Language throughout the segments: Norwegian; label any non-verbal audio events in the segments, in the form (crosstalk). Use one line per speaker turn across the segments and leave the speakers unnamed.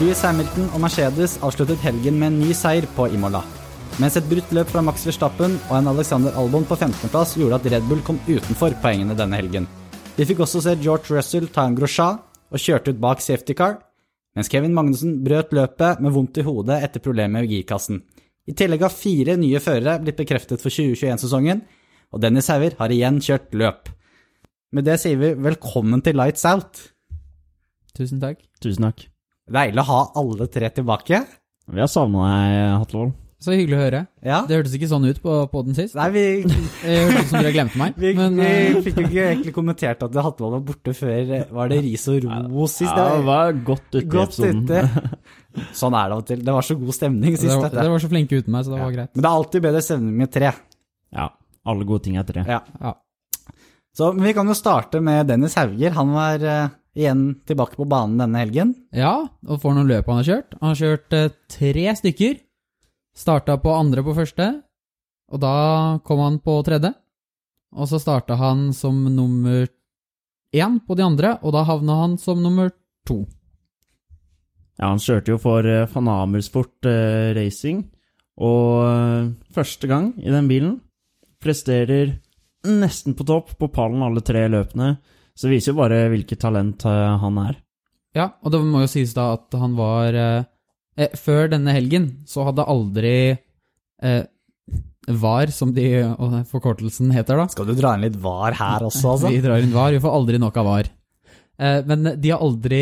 Lewis Hamilton og Mercedes avsluttet helgen med en ny seier på Imola. Mens et brutt løp fra Max Verstappen og en Alexander Albon på 15.-plass gjorde at Red Bull kom utenfor poengene denne helgen. Vi fikk også se George Russell ta en grosja og kjørte ut bak safety car, mens Kevin Magnussen brøt løpet med vondt i hodet etter problemet med girkassen. I tillegg har fire nye førere blitt bekreftet for 2021-sesongen, og Dennis Hauger har igjen kjørt løp. Med det sier vi velkommen til Lights Out.
Tusen takk.
Tusen takk.
Deilig å ha alle tre tilbake.
Vi har savna deg, Hatlevold.
Så hyggelig å høre.
Ja.
Det hørtes ikke sånn ut på, på den sist.
Nei, vi,
Det hørtes ut som dere glemte meg.
vi,
Men
vi
eh,
fikk jo ikke egentlig kommentert at Hattevold var borte før eh, Var det ris og ro sist?
Ja, det
Det var
var godt ute i
Godt
episoden. (laughs)
ute. Sånn er det av og til. Det var så god stemning sist.
dere var,
dette.
dere var så flinke uten meg, så det var greit.
Men det er alltid bedre stemning med tre.
Ja. Alle gode ting er tre.
Ja.
Ja.
Så men vi kan jo starte med Dennis Hauger. Han var eh, igjen tilbake på banen denne helgen.
Ja, og for noen løp han har kjørt. Han har kjørt eh, tre stykker. Starta på andre på første, og da kom han på tredje. Og så starta han som nummer én på de andre, og da havna han som nummer to.
Ja, han kjørte jo for eh, Van Amersfoort eh, Racing, og eh, første gang i den bilen presterer nesten på topp på pallen alle tre løpene, så det viser jo bare hvilket talent eh, han er.
Ja, og det må jo sies da at han var eh, eh, Før denne helgen så hadde aldri eh, VAR, som de, og forkortelsen heter da,
Skal du dra inn litt var her også, altså?
Vi drar inn VAR, vi får aldri nok av VAR. Eh, men de har aldri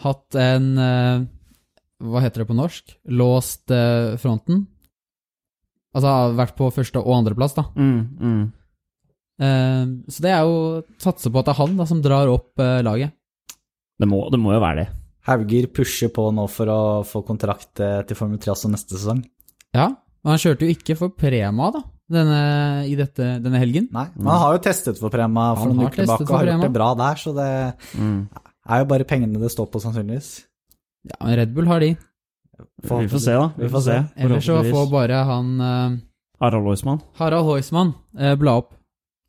hatt en eh, Hva heter det på norsk? Låst eh, fronten? Altså har vært på første- og andreplass, da.
Mm, mm.
Eh, så det er jo Satser på at det er han da som drar opp eh, laget.
Det, må, det må jo være det.
Hauger pusher på nå for å få kontrakt eh, til Formel 3 også neste sesong.
Ja, men han kjørte jo ikke for Prema, da, denne, i dette, denne helgen.
Nei, men han har jo testet for Prema for
Han
noen
har
uker tilbake
testet
og har
for
gjort
Prema.
det bra der, så det
Mm.
er jo bare pengene det står på, sannsynligvis.
Ja, men Red Bull har de.
Vi får se, da. Vi får se.
Ellers så får
Forhåpentligvis.
bare han eh,
Harald Oismann.
Harald Heusmann eh, bla opp.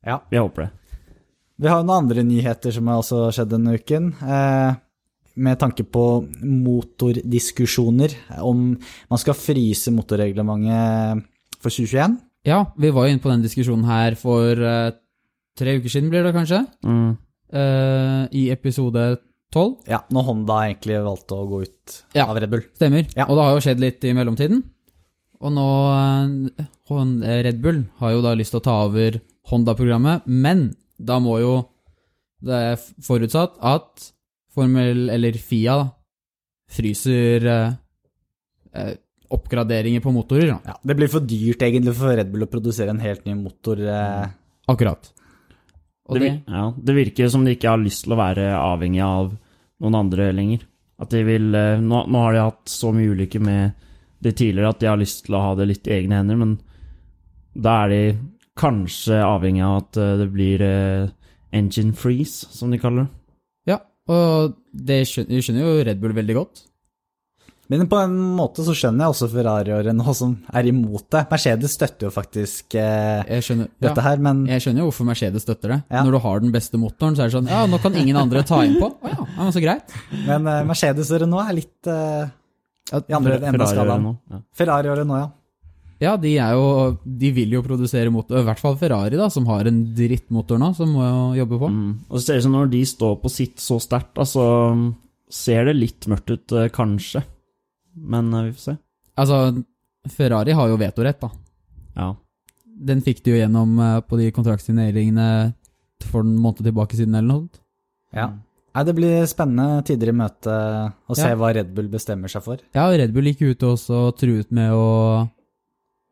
Vi håper det.
Vi har noen andre nyheter som har også skjedd denne uken. Eh, med tanke på motordiskusjoner, om man skal fryse motorreglementet for 2021.
Ja, vi var jo inne på den diskusjonen her for eh, tre uker siden, blir det kanskje?
Mm.
Eh, I episode tolv.
Ja, når Honda egentlig valgte å gå ut
Ja.
av Red Bull.
Stemmer.
Ja.
Og det har jo skjedd litt i mellomtiden. Og nå eh, Hon- eh, Red Bull har jo da lyst til å ta over Honda-programmet, men da må jo Det er f- forutsatt at Formel eller Fia da, fryser eh, eh, oppgraderinger på motorer. Da.
Ja, det blir for dyrt egentlig for Red Bull å produsere en helt ny motor. Eh,
Akkurat. Og
Det,
det,
vir- ja, det virker som de ikke har lyst til å være avhengig av noen andre lenger. At de vil, eh, nå, nå har de hatt så mye ulykker med det tidligere at de har lyst til å ha det litt i egne hender, men da er de kanskje avhengig av at eh, det blir eh, engine freeze, som de kaller det.
ja, og det skjønner, skjønner jo Red Bull veldig godt.
men på en måte så skjønner jeg også Ferrari og Renault som er imot det. Mercedes støtter jo faktisk eh,
Jeg skjønner, ja,
dette her, men
jeg skjønner jo hvorfor Mercedes støtter det.
Ja.
Når du har den beste motoren, så er det sånn Ja, nå kan ingen andre ta innpå. Å ja, ja, men så greit.
Men eh, Mercedes og Renault er litt eh,
At-
i andre enden av
Ferrari gjør det
skalaen.
nå, ja.
Ferrari og Renault, ja.
Ja, de er jo De vil jo produsere motor, i hvert fall Ferrari, da, som har en drittmotor nå, som må jo jobbe på.
Mm. Og så ser det ut som når de står på sitt så sterkt, da, så mm, ser det litt mørkt ut, eh, kanskje. Men eh, vi får se.
Altså, Ferrari har jo vetorett, da.
Ja.
Den fikk de jo gjennom eh, på de kontraktssigneringene for en måned tilbake siden, eller noe sånt.
Ja. Mm. Nei, det blir spennende tider i møte å se
Ja.
hva Red Bull bestemmer seg for.
Ja, Red Bull gikk ut og også truet med å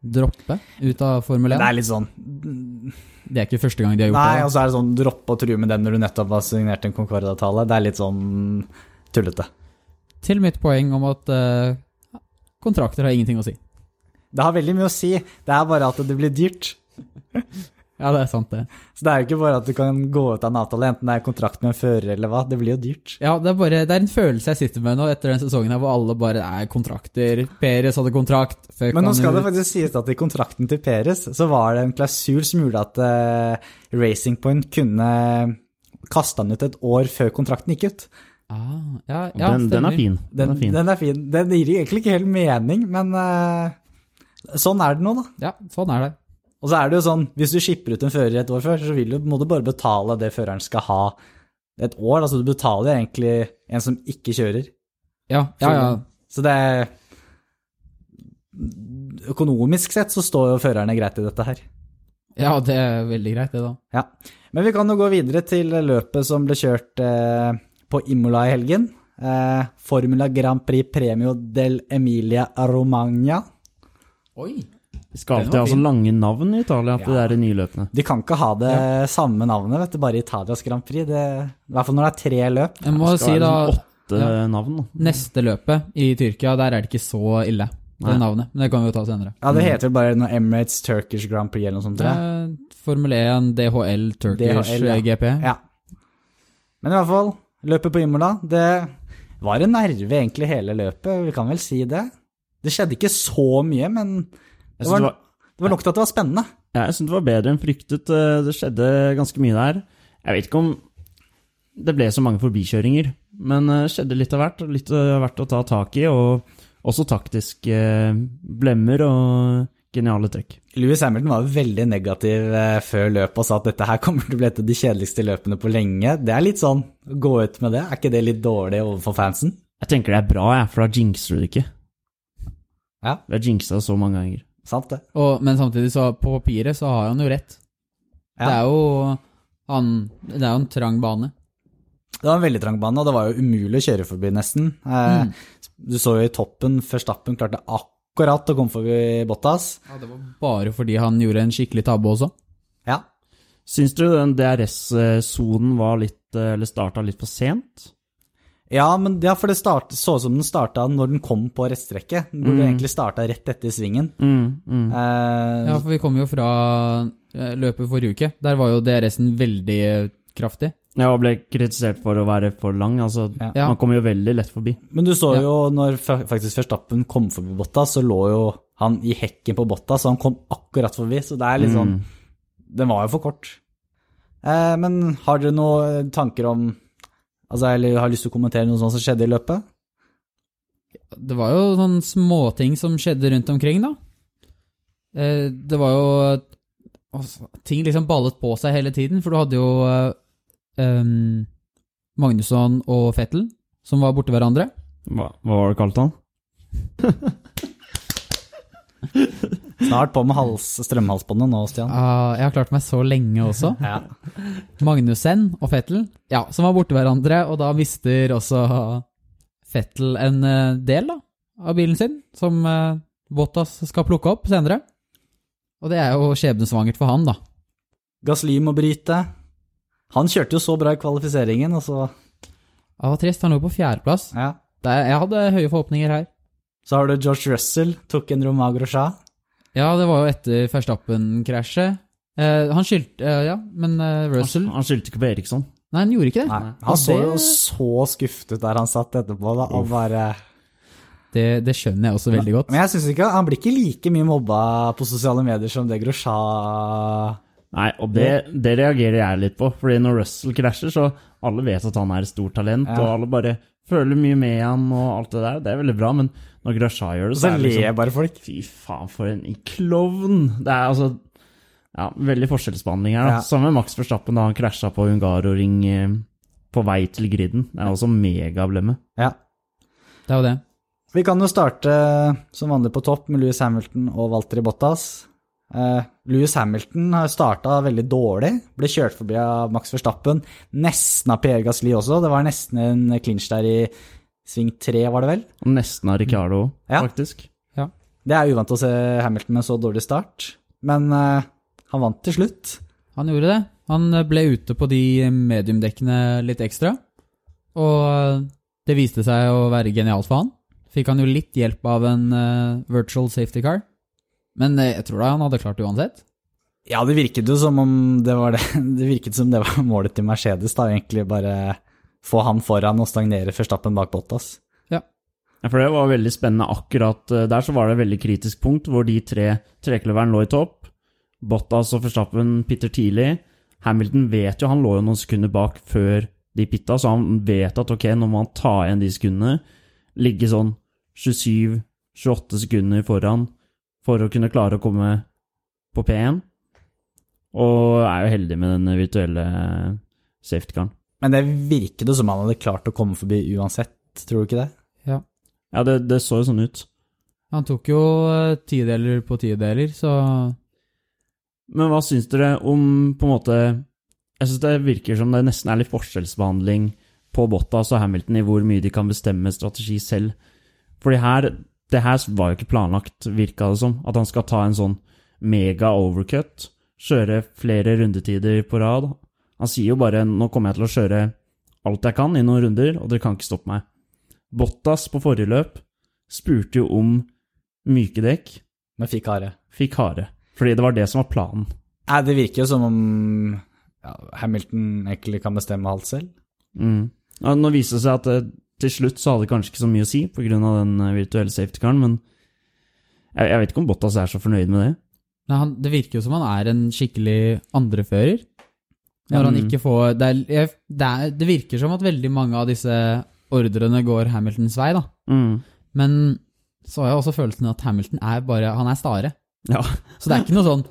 droppe ut av Formel
Det
1.
er litt sånn
Det er ikke første gang de har gjort
Nei,
det.
og så er det sånn droppe å true med den når du nettopp har signert en Concorde-avtale. Det er litt sånn tullete.
Til mitt poeng om at eh, kontrakter har ingenting å si.
Det har veldig mye å si, det er bare at det blir dyrt.
Ja, det er sant, det.
Så det er jo ikke bare at du kan gå ut av en avtale, enten det er kontrakt med en fører eller hva. Det blir jo dyrt.
Ja, det er, bare, det er en følelse jeg sitter med nå etter den sesongen her, hvor alle bare er kontrakter. Peres hadde kontrakt. fuck
Men nå
han
skal det
ut.
faktisk sies at i kontrakten til Peres så var det en klausul som gjorde at eh, Racing Point kunne kaste han ut et år før kontrakten gikk ut.
Ah, ja,
Og
ja,
den, den
stemmer.
er fin. Den,
Den,
er fin.
den er fin. Den gir egentlig ikke helt mening, men eh, sånn er det nå, da.
Ja, sånn er det.
Og så er det jo sånn, hvis du skipper ut en fører et år før, så vil du, må du bare betale det føreren skal ha et år. Altså du betaler egentlig en som ikke kjører.
Ja, ja, ja.
Så det er Økonomisk sett så står jo førerne greit i dette her.
ja, det er veldig greit, det, da.
Ja. Men vi kan jo gå videre til løpet som ble kjørt eh, på Imola i helgen. Eh, Formula Grand Prix Premio del Emilia Romagna.
Oi! den
Skal alltid
var
ha så
fin.
altså lange navn i Italia at det er de nyløpene.
De kan ikke ha det samme navnet, vet du, bare Italias Grand Prix. Det, I hvert fall når det er tre løp.
Jeg må
Det
si,
skal
da,
være sånn åtte
Ja.
navn. Da.
neste løpet i Tyrkia, der er det ikke så ille, det
Nei.
navnet. Men det kan vi jo ta senere.
Ja, det heter vel bare noe Emirates Turkish Grand Prix eller noe sånt,
Det
tror jeg.
er Formel 1, DHL, Turkish
DHL, ja.
GP.
Ja. Men i hvert fall, løpet på Imola, det var en nerve egentlig hele løpet, vi kan vel si det. Det skjedde ikke så mye, men
Jeg
det
synes
var,
det var,
det var nok til at det var spennende.
jeg synes det var bedre enn fryktet. Eh, Det skjedde ganske mye der. Jeg vet ikke om det ble så mange forbikjøringer, men det skjedde litt av hvert. og Litt av hvert å ta tak i, og også taktiske blemmer og geniale trekk.
Louis Hamilton var jo veldig negativ eh, før løpet og sa at dette her kommer til å bli et av de kjedeligste løpene på lenge. Det er litt sånn, gå ut med det, er ikke det litt dårlig overfor fansen?
Jeg tenker det er bra, jeg, for da jinxer du det ikke.
Ja.
Vi har jinxa så mange ganger.
Sant det?
Og, men samtidig, så på papiret, så har han jo rett.
Ja.
Det er jo han, Det er jo en trang bane.
Det var en veldig trang bane, og det var jo umulig å kjøre forbi nesten. Eh,
Mm.
Du så jo i toppen, Verstappen klarte akkurat å komme forbi Bottas.
Ja, det var bare fordi han gjorde en skikkelig tabbe også.
Ja,
Syns du den DRS-sonen eh, var litt eh, Eller starta litt for sent?
ja men ja, for det start, så ut som den starta når den kom på restrekket. Den burde egentlig starta rett etter svingen.
Mm, mm.
Eh,
Ja, for vi kom jo fra eh, løpet forrige uke. Der var jo DRS-en veldig eh, kraftig.
Jeg ble kritisert for å være for lang. Altså,
Ja.
Man kommer jo veldig lett forbi.
Men du så
Ja.
jo når fa- faktisk Verstappen kom forbi Bottas, så lå jo han i hekken på Bottas, så han kom akkurat forbi. Så det er
Mm.
litt sånn Den var jo for kort. Eh, men har dere noen tanker om Altså, eller har lyst til å kommentere noe sånt som skjedde i løpet?
Det var jo sånne småting som skjedde rundt omkring, da. Eh, Det var jo altså, Ting liksom ballet på seg hele tiden, for du hadde jo eh, em, Magnusson og Fettel som var borte hverandre.
Hva, hva var det kalt han?
Snart på med hals, strømhalsbåndet nå, Stian.
Ah, jeg har klart meg så lenge også.
Ja.
Magnussen og Fettel, ja, som var borte hverandre, og da mister også Fettel en eh, del da, av bilen sin, som eh, Bottas skal plukke opp senere. Og det er jo skjebnesvangert for han, da.
Gasly må bryte. Han kjørte jo så bra i kvalifiseringen, og så
Det var trist, han lå på fjerdeplass.
ja.
Det er- Jeg hadde høye forhåpninger her.
Så har du George Russell, tok en Romagro Shah.
Ja, det var jo etter Verstappen-krasjet. Eh, han skyldte eh, Ja, men eh, Russell
Han skyldte ikke på Eriksson.
Nei, han gjorde ikke det.
Nei, Han så jo
det-
så skuffet ut der han satt etterpå, da, og bare
det. Det skjønner jeg også veldig godt.
Men jeg synes ikke, han blir ikke like mye mobba på sosiale medier som det Grosja
Nei, og det, det reagerer jeg litt på. Fordi når Russell krasjer, så alle vet at han er et stort talent, og alle bare føler mye med ham og alt det der. Det er veldig bra, men når Grashai gjør
Og
det, så
så
er det
ler
liksom
bare folk.
Fy faen, for en klovn! Det er altså ja, veldig forskjellsbehandling her.
Ja.
da. Samme med Max Verstappen da han krasja på Hungaroring eh, på vei til griden. Det er også megablemme.
Ja.
Det er jo det.
Vi kan jo starte som vanlig på topp med Louis Hamilton og Valtteri Bottas. Eh, Louis Hamilton har starta veldig dårlig, ble kjørt forbi av Max Verstappen. Nesten av Pierre Gasli også, det var nesten en clinch der i sving tre, var det vel?
Og nesten av Ricardo òg,
Ja.
faktisk.
Det er uvant å se Hamilton med en så dårlig start, men eh, han vant til slutt.
Han gjorde det. Han ble ute på de mediumdekkene litt ekstra. Og det viste seg å være genialt for han. Fikk han jo litt hjelp av en eh, virtual safety car. Men eh, jeg tror da han hadde klart det uansett.
Ja, det virket jo som om det var det. (laughs) Det virket som det var målet til Mercedes, da. Egentlig bare få han foran og stagnere Verstappen bak Bottas.
Ja, for det var veldig spennende akkurat eh, der, så var det et veldig kritisk punkt hvor de tre trekløveren lå i topp. Bottas og Verstappen pitter tidlig. Hamilton vet jo han lå jo noen sekunder bak før de pitta, så han vet at ok, nå må han ta igjen de sekundene. Ligge sånn 27-28 sekunder foran for å kunne klare å komme på P1. Og er jo heldig med den virtuelle eh, safety-caren.
Men det virket jo som han hadde klart å komme forbi uansett, tror du ikke det?
Ja, det, det så jo sånn ut.
Han tok jo eh, tideler på tideler, så
Men hva syns dere om på en måte Jeg syns det virker som det nesten er litt forskjellsbehandling på Bottas og Hamilton i hvor mye de kan bestemme strategi selv. Fordi her Det her var jo ikke planlagt, virka det som. At han skal ta en sånn mega overcut. Kjøre flere rundetider på rad. Han sier jo bare 'nå kommer jeg til å kjøre alt jeg kan i noen runder, og dere kan ikke stoppe meg'. Bottas på forrige løp spurte jo om myke dekk,
Men fikk harde.
fikk harde. Fordi det var det som var planen.
Nei, det virker jo som om ja, Hamilton egentlig kan bestemme alt selv.
Mm. Ja, nå viste det seg at eh, til slutt så hadde det kanskje ikke så mye å si pga. den eh, virtuelle safety-caren, men jeg, jeg vet ikke om Bottas er så fornøyd med det.
Nei, han, Det virker jo som han er en skikkelig andrefører. Når han
Mm.
ikke får det, er, jeg, det, er, det virker som at veldig mange av disse ordrene går Hamiltons vei, da.
Mm.
Men så har jeg også følelsen at Hamilton er bare Han er stare.
Ja.
Så det er ikke noe sånn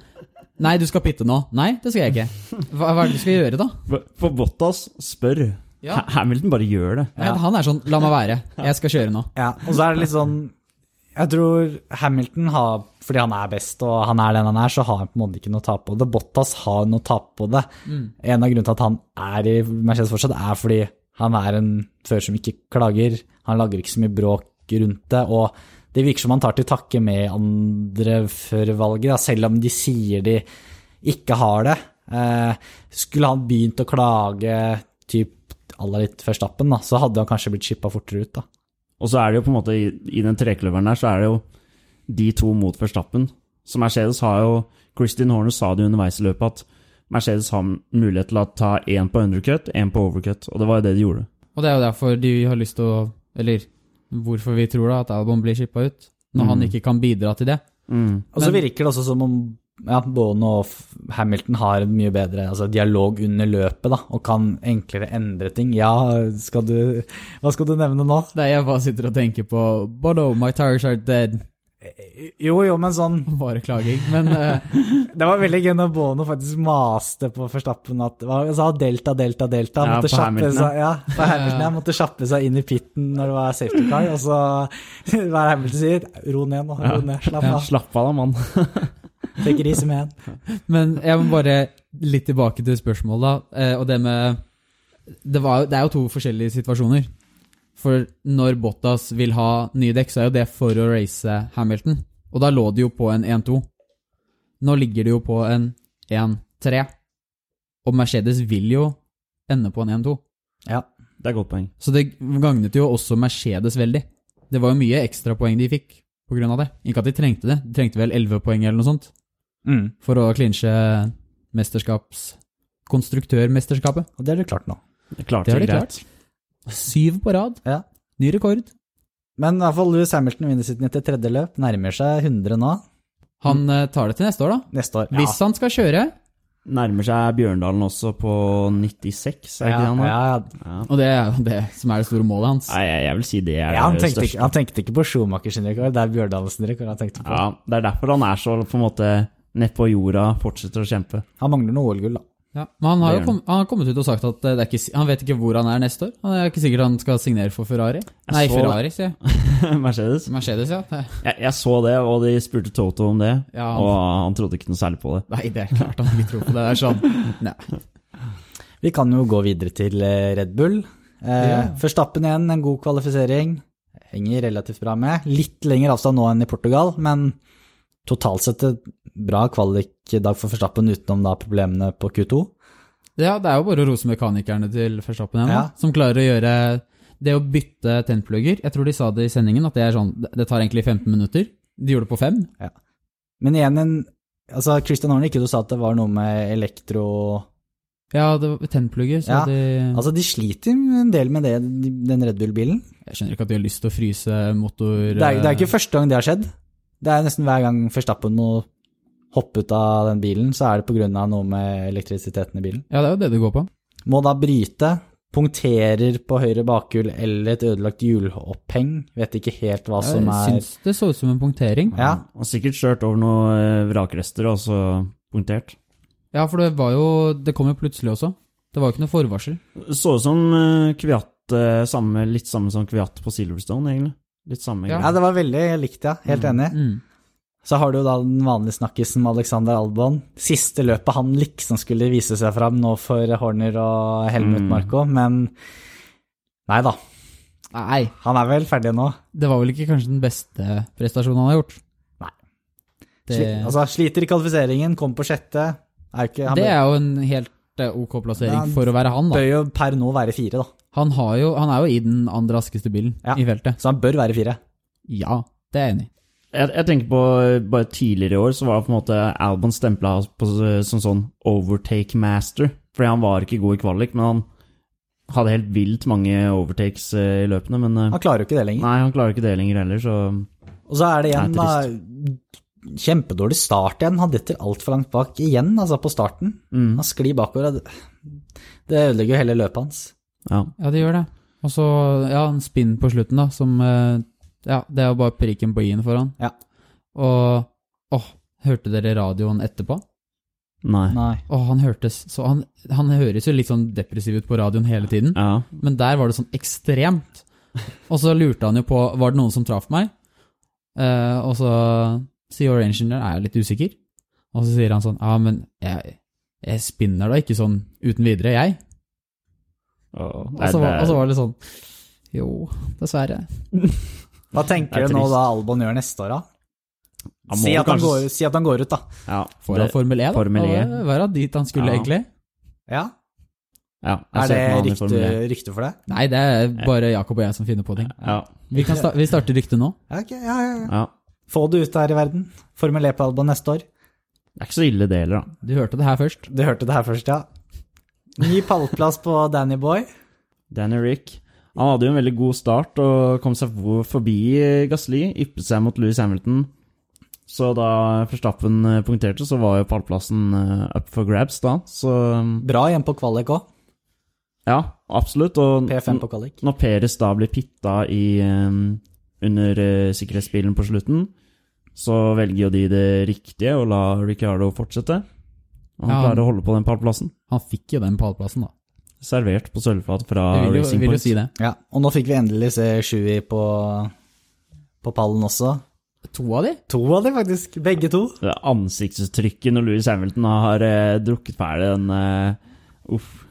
Nei, du skal pitte nå. Nei, det skal jeg ikke. Hva, hva er det du skal gjøre, da?
For- For Bottas spør.
Ja.
Ha- Hamilton bare gjør det.
Nei, Han er sånn La meg være. Jeg skal kjøre nå.
Ja, og så er det litt sånn Jeg tror Hamilton har Fordi han er best, og han er den han er, så har han på en måte ikke noe å tape på det. Bottas har noe å tape på det. En av grunnene til at han er i Mercedes fortsatt, er fordi han er en fører som ikke klager. Han lager ikke så mye bråk rundt det. Og det virker som han tar til takke med andre før valget, da, selv om de sier de ikke har det. Eh, skulle han begynt å klage typ aller litt før stappen, da, så hadde han kanskje blitt shippa fortere ut. da.
Og så er det jo på en måte i, i den trekløveren der, så er det jo de to mot Verstappen. Så Mercedes har jo Christian Horner sa det jo underveis i løpet at Mercedes har mulighet til å ta én på undercut, én på overcut, og det var jo det de gjorde.
Og det er jo derfor de har lyst til å Eller hvorfor vi tror da at Albon blir shippa ut. Når han ikke kan bidra til det.
Mm.
Og så
Men-
virker det også som om ja, Bono og F- Hamilton har en mye bedre altså, dialog under løpet da, og kan enklere endre ting. Ja, skal du, hva skal du nevne nå?
Det er jeg bare sitter og tenker på Bono, my tires are dead.
Jo, jo, men sånn
Bare klaging. Men eh,
Det var veldig gøy når Bono faktisk maste på Forstappen at hva- Han sa delta, delta, delta. Han
Ja,
måtte
på
kjappe
Hamilton, ja.
seg, ja, på Hamilton, ja. måtte kjappe seg inn i pitten når det var safety car. Og så (laughs) hva er det Hamilton sier? Ro ned nå, ro ned. Slapp av.
Slapp av da, mann.
Take it easy, man.
Men jeg må bare litt tilbake til spørsmålet, da. eh, Og det med det, var, jo- det er jo to forskjellige situasjoner. For når Bottas vil ha nye dekk, så er jo det for å race Hamilton. Og da lå det jo på en 1-2. Nå ligger det jo på en 1-3. Og Mercedes vil jo ende på en 1-2.
Ja.
Det er et godt poeng.
Så det gagnet jo også Mercedes veldig. Det var jo mye ekstrapoeng de fikk på grunn av det. Ikke at de trengte det. De trengte vel 11 poeng eller noe sånt
Mm.
for å klinsje mesterskaps... Konstruktørmesterskapet.
Og det har du klart nå.
Det klarte
Det har
det
de
greit.
Syv på rad.
Ja.
Ny rekord.
Men i hvert fall Louis Hamilton vinner sitt 93. løp, nærmer seg 100 nå,
Han eh, tar det til neste år, da.
neste år.
Hvis han skal kjøre,
Nærmer seg Bjørndalen også på 96, er
ja,
ikke det han
ja,
er?
ja.
og det er jo det som er det store målet hans
Nei, jeg, jeg vil si det er
ja han,
det
tenkte ikke,
største.
han tenkte ikke på Schumacher sin rekord, det er Bjørdalens rekord han tenkte på.
Ja, det er derfor han er så på en måte nett på jorda, fortsetter å kjempe. (laughs)
Han mangler noe OL-gull, da.
ja. Men han har
Det
jo
gjør
kom, han har kommet ut og sagt at eh, det er ikke, si- han vet ikke hvor han er neste år. Han er ikke sikkert han skal signere for Ferrari. Nei,
så det.
Ferrari, sier jeg.
Mercedes.
Mercedes, ja. (laughs) Det-
Jeg, jeg så det, og de spurte Toto om det,
Ja.
og han trodde ikke noe særlig på det.
Nei, det er klart han ikke tror på det. Det er sånn Nei.
Vi kan jo gå videre til eh, Red Bull. Eh,
Ja.
Forstappen igjen, en god kvalifisering. Henger relativt bra med. Litt lengre avstand nå enn i Portugal, men totalt sett et bra kvalik-dag for Forstappen utenom da problemene på Q2.
Ja, det er jo bare å rose mekanikerne til Verstappen igjen, da,
Ja.
som klarer å gjøre det å bytte tennplugger. Jeg tror de sa det i sendingen, at det er sånn, det tar egentlig 15 minutter. De gjorde det på fem.
Men igjen en Altså, Christian Horne, ikke du sa at det var noe med elektro...
Ja, det var tennplugger, så
Ja,
de
Altså, de sliter en del med det, den Red Bull-bilen.
Jeg skjønner ikke at de har lyst til å fryse motor...
Det, er- det er ikke første gang det har skjedd. Det er nesten hver gang Verstappen må hoppe ut av
eh,
den bilen, så er det pga. noe med elektrisiteten i bilen.
Ja, det er jo det det går på.
Må da bryte, punkterer på høyre bakhjul eller et ødelagt hjuloppheng. Vet ikke helt hva som
Jeg
er
syns det så ut som en punktering.
Ja,
Og sikkert kjørt over noen eh, vrakrester og så punktert.
Ja, for det var jo Det kom jo plutselig også. Det var jo ikke noe forvarsel.
Så ut som eh, Kviat, eh, samme, litt samme som Kviat på Silverstone, egentlig. Litt samme
Ja.
ja, det var veldig likt, ja. Helt enig.
Mm.
Så har du jo da den vanlige snakkisen med Alexander Albon. Siste løpet han liksom skulle vise seg fram nå for Horner og Helmut
Mm.
Marko, men Nei da,
Nei,
han er vel ferdig nå.
det var vel ikke kanskje den beste prestasjonen han har gjort.
Nei.
Det,
Sli, altså, sliter i kvalifiseringen, kom på sjette. Er jo ikke, han
det
bør,
er jo en helt eh, ok
Ja,
plassering for å være han, da.
bør jo per nå være fire, da.
Han, har jo, han er jo i den andre raskeste bilen
Ja.
i feltet.
Så han bør være fire.
Ja, det er jeg enig i.
Jeg, jeg tenker på eh, bare tidligere i år, så var det på en måte Albon stempla på s- som sånn overtake master. Fordi han var ikke god i kvalik, men han hadde helt vilt mange overtakes eh, i løpene. Men eh,
Han klarer jo ikke det lenger.
nei, han klarer ikke det lenger heller, så
Og så er det igjen,
Det er
da. Kjempedårlig start igjen. Han detter altfor langt bak igjen, altså, på starten.
mm,
Han sklir bakover. og Det det ødelegger jo hele løpet hans.
ja.
Ja, det gjør det. Og så, ja, en spinn på slutten, da, som eh, Ja, det er jo bare prikken på i-en for han.
Ja.
Og Åh, hørte dere radioen etterpå?
Nei.
Nei.
Åh, han hørtes så han, han høres jo litt sånn depressiv ut på radioen hele tiden,
Ja.
men der var det sånn ekstremt. Og så lurte han jo på Var det noen som traff meg? Eh, og så sier your engineer er jo litt usikker. Og så sier han sånn Ja, men jeg, jeg spinner da ikke sånn uten videre, jeg.
Åh,
Og
nei,
så var,
det-
og så var det sånn Jo, dessverre.
Hva
Det
tenker
er
du nå
trist.
da Albon gjør neste år, da?
Han må
Si
vel
at, han
kanskje-
går, si at han går ut, da.
Ja,
Foran
det-
Formel E, da.
Formel E.
Det var da dit han skulle,
Ja.
egentlig.
Ja,
ja, jeg
Er
ser
det
for meg han i
rykte,
Formel E.
rykte for det?
Nei, det er bare Jakob og jeg som finner på ting.
Ja,
Vi, kan sta vi starter ryktet nå.
Ja, ok, ja, ja, ja.
ja.
Få det ut her i verden. Formel E på Albon neste år.
Det er ikke så ille det heller, da.
Du hørte det her først.
Du hørte det her først, ja. Ny pallplass på Danny Boy.
Danny Rick. Han hadde jo en veldig god start og kom seg for- forbi Gasli, yppet seg mot Louis Hamilton. Så da Verstappen eh, punkterte, så var jo pallplassen eh, up for grabs da. Så mm,
Bra igjen på kvalik òg.
ja, absolutt. Og
P5 på kvalik.
når Peres da blir pitta i, eh, under eh, sikkerhetsbilen på slutten, så velger jo de det riktige og lar Ricardo fortsette. Og
Ja.
han klarer å holde på den pallplassen.
Han fikk jo den pallplassen, da.
Servert på sølvfat fra
Jeg vil jo,
Racing
vil jo
Point.
si det.
Ja, og nå fikk vi endelig se Shui på, på pallen også.
To av de?
To av de, faktisk. Begge to.
Det er ansiktsuttrykket når Louis Hamilton har eh, drukket ferdig den eh, Uff.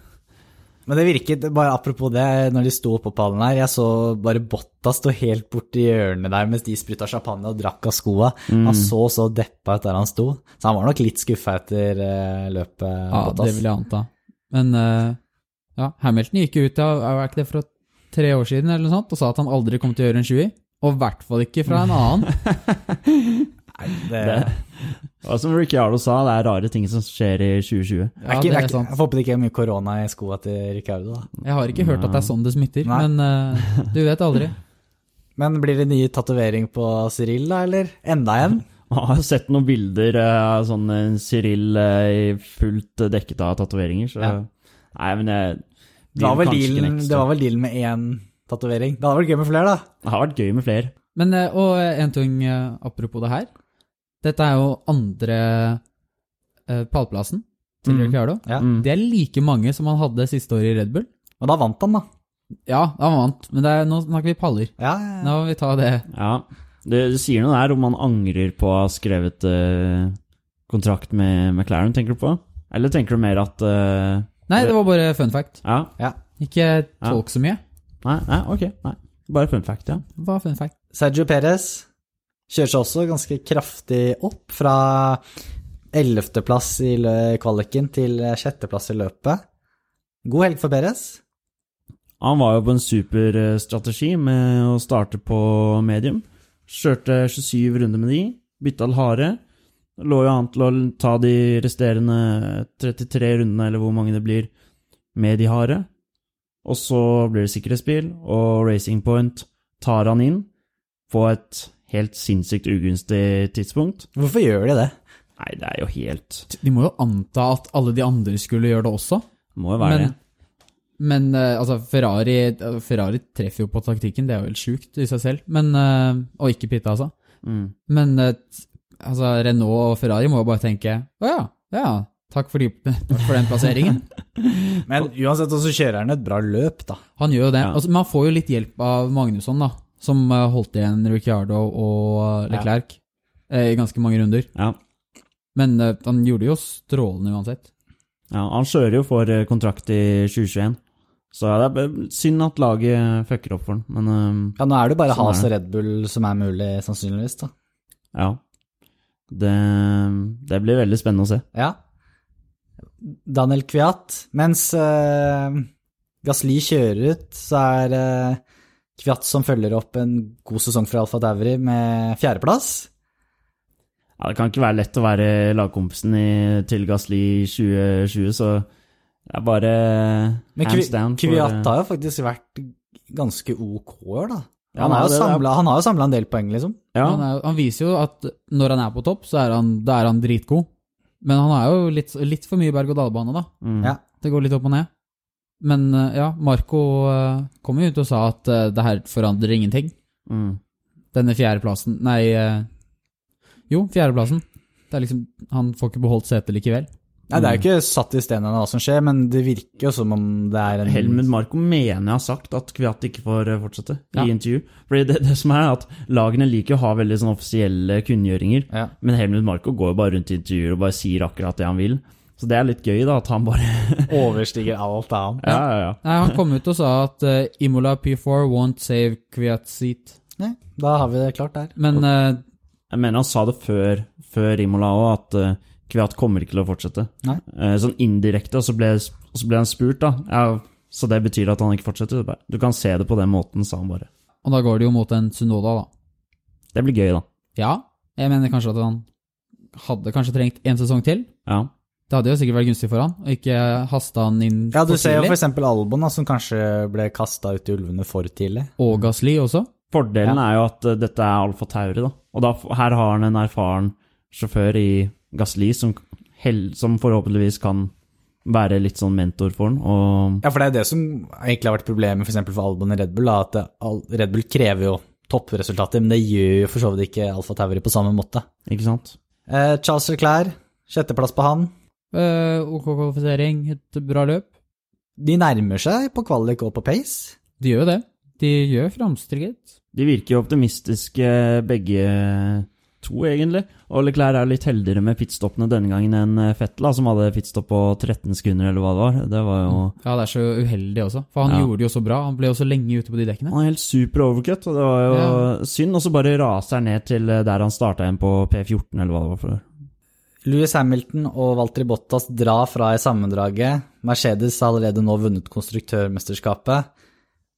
Men det virket, bare apropos det, når de sto oppå pallen her, jeg så bare Botta stå helt borti hjørnet der mens de spruta champagne og drakk av skoa. Han så så deppa ut der han sto, så han var nok litt skuffa etter eh, løpet.
Ja, det
Bottas.
vil jeg anta. Men eh, ja, Hamilton gikk jo ut av er ikke det fra tre år siden eller noe sånt, og sa at han aldri kom til å gjøre en 20. Og i hvert fall ikke fra en annen.
Det-
(laughs) Det, og som Ricciardo sa, det er rare ting som skjer i 2020.
Ja,
(laughs) er ikke,
det
er
er
ikke,
sant.
jeg håper det ikke er mye korona i skoa til Ricardo, da.
Jeg har ikke hørt at det er sånn det smitter,
Nei.
men eh, du vet aldri.
(laughs) Men blir det ny tatovering på Cyril, da, eller? Enda (laughs) en?
Man har sett noen bilder eh, av sånn eh, Cyril eh, i fullt eh, dekket av tatoveringer, så
Ja.
Nei, men jeg
Det var vel
kanskje ikke
dealen,
next
det var
år.
vel dealen med én tatovering. Det hadde vært gøy med flere, da.
Det har vært gøy med flere.
Men, eh, og en ting eh, apropos det her. Dette er jo andre eh, pallplassen til
Mhm.
Ricciardo.
Ja.
Mm.
Det er like mange som han hadde siste året i Red Bull.
Og da vant han, da.
Ja, han vant, men det er, nå snakker vi paller.
Ja, ja, ja.
Nå må vi ta det.
Ja. Det, det sier noe der om han angrer på å ha skrevet eh, kontrakt med McLaren, tenker du på? Eller tenker du mer at eh,
Nei, det var bare fun fact.
Ja.
Ikke tolk så mye.
Nei, nei, ok. Nei. Bare fun fact, ja.
Hva er fun fact?
Sergio Perez kjører seg også ganske kraftig opp fra 11.-plass i lø- kvaliken til 6.-plass i løpet. God helg for Perez.
Han var jo på en super eh, strategi med å starte på medium. Kjørte 27 runder med de, bytta til harde. Lå jo an til å ta de resterende 33 rundene, eller hvor mange det blir, med de harde. Og så blir det sikkerhetsbil, og Racing Point tar han inn på et helt sinnssykt ugunstig tidspunkt.
Hvorfor gjør de det?
Nei, det er jo helt
De må jo anta at alle de andre skulle gjøre det også.
Må jo være
men
det.
Men eh, altså, Ferrari, eh, Ferrari treffer jo på taktikken, det er jo helt sjukt i seg selv. Men, eh, og ikke Pitta, altså.
Mm.
Men eh, t- altså, Renault og Ferrari må jo bare tenke Å ja, ja, takk for, de, (laughs) takk for den plasseringen.
Men uansett, så kjører han et bra løp, da.
Han gjør jo det.
Ja.
Altså, man får jo litt hjelp av Magnusson, da. Som eh, holdt igjen Ricciardo og eh, Leclerc eh, i ganske mange runder.
Ja.
Men eh, han gjorde det jo strålende uansett.
ja. Han kjører jo for eh, kontrakt i 2021, så det er b- synd at laget fucker opp for han, men eh,
Ja, nå er det jo bare
Sånn er
Has og Red Bull som er mulig, sannsynligvis, da.
ja. Det, det blir veldig spennende å se.
Ja. Daniel Kviat. Mens eh, Gasli kjører ut, så er eh, Kviat som følger opp en god sesong for Alfa Dauri med fjerdeplass.
Ja, det kan ikke være lett å være lagkompisen i, til Gasli i 2020, så det er bare
Men
hands
Kvi-
down. for- eh,
Kvyat har jo faktisk vært ganske ok år, da.
Ja,
han,
han
har
har
jo
det, det er-
samlet, han har jo samla en del poeng, liksom.
eh, ja,
Han, er, han viser jo at når han er på topp, så er han, da er han dritgod. Men han er jo litt, litt for mye berg-og-dal-bane, da.
mm.
Ja.
Det går litt opp og ned. Men eh, ja, Marco eh, kom jo ut og sa at eh, det her forandrer ingenting.
Mm.
Denne fjerdeplassen Nei, eh, jo, fjerdeplassen. Det er liksom, han får ikke beholdt setet likevel.
Nei, det er jo ikke satt i stein hva som skjer, men det virker jo som om det er en
Helmut Marko mener jeg har sagt at Kviat ikke får eh, fortsette
Ja.
i intervju. Fordi det, det som er at Lagene liker å ha veldig sånn offisielle kunngjøringer,
Ja.
men Helmut Marko går jo bare rundt i intervjuer og bare sier akkurat det han vil. Så det er litt gøy, da, at han bare
Overstiger alt annet.
Ja, ja, ja.
Nei, han kom ut og sa at eh, Imola P4 won't save Kviat seat.
Nei, da har vi det klart der.
Men eh,
(laughs) Jeg mener han sa det før, før Imola òg, at eh, Kviat kommer ikke til å fortsette.
Nei.
Eh, sånn indirekte, og så ble, og så ble han spurt, da. Ja, så det betyr at han ikke fortsetter? Så bare, Du kan se det på den måten, sa han bare.
Og da går det jo mot en Sunoda, da.
Det blir gøy, da.
Ja, jeg mener kanskje at han hadde kanskje trengt en sesong til.
Ja.
Det hadde jo sikkert vært gunstig for han, og ikke haste han inn
Ja, du
for
ser jo
tidlig.
f.eks. Albon, da, som kanskje ble kasta ut i ulvene for tidlig.
Og Gasli også.
Fordelen er jo at eh, dette er Alfa Tauri, da. Og da, f- her har han en erfaren sjåfør i Gasli som, hell, som forhåpentligvis kan være litt sånn mentor for han. Og
Ja, for det er det som egentlig har vært problemet f.eks. for Albon i Red Bull, da, at det- al- Red Bull krever jo toppresultater, men det gjør jo for så vidt ikke Alfa Tauri på samme måte.
ikke sant?
Eh, Charles Leclerc, sjetteplass på han.
Eh, OK kvalifisering, et bra løp.
De nærmer seg på kvalik og på pace.
De gjør jo det. De gjør framstreget.
De virker jo optimistiske begge to, egentlig. Og Leclerc er litt heldigere med pitstoppene denne gangen enn eh, Fettel, da, som hadde pitstopp på 13 sekunder, eller hva det var. Det var jo
Ja, det er så uheldig også, for han
Ja.
gjorde det jo så bra. Han ble jo så lenge ute på de dekkene.
Han er helt super overcut, og det var jo synd. Og så bare raser han ned til eh, der han starta igjen på P14, eller hva det var for noe.
Louis Hamilton og Walter Bottas drar fra i sammendraget. Mercedes har allerede nå vunnet konstruktørmesterskapet.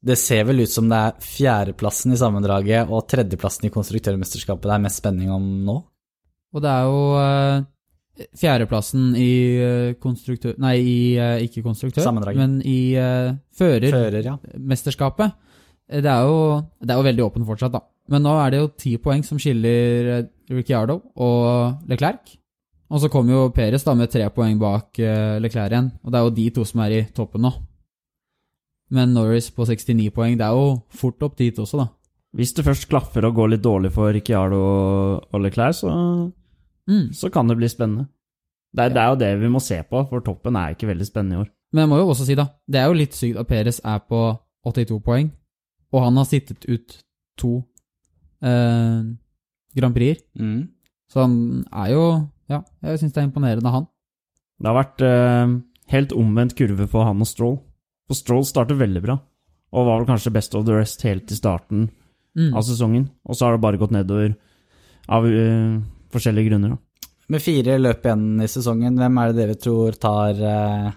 Det ser vel ut som det er fjerdeplassen i sammendraget og tredjeplassen i konstruktørmesterskapet det er mest spenning om nå.
Og det er jo eh, fjerdeplassen i eh, konstruktør... Nei, i, eh, ikke konstruktør,
Sammendraget.
men i eh, fører.
Fører, ja.
mesterskapet. Det er, jo, det er jo veldig åpen fortsatt, da. Men nå er det jo ti poeng som skiller eh, Ricciardo og Leclerc. Og så kommer jo Perez da med tre poeng bak eh, Leclerc igjen, og det er jo de to som er i toppen nå. Men Norris på 69 poeng, det er jo fort opp dit også, da.
Hvis det først klaffer og går litt dårlig for Ricciardo og Leclerc, så,
Mm.
så kan det bli spennende. Det er, det er jo det vi må se på, for toppen er ikke veldig spennende i år.
Men jeg må jo også si, da, det er jo litt sykt at Perez er på 82 poeng, og han har sittet ut to eh, Grand Prix-er.
Mm.
Så han er jo Ja, jeg syns det er imponerende av han.
Det har vært eh, helt omvendt kurve for han og Stroll. For Stroll starter veldig bra, og var vel kanskje best of the rest helt i starten
Mm.
av sesongen. Og så har det bare gått nedover av eh, forskjellige grunner. Da.
Med fire løp igjen i sesongen, hvem er det dere tror tar eh,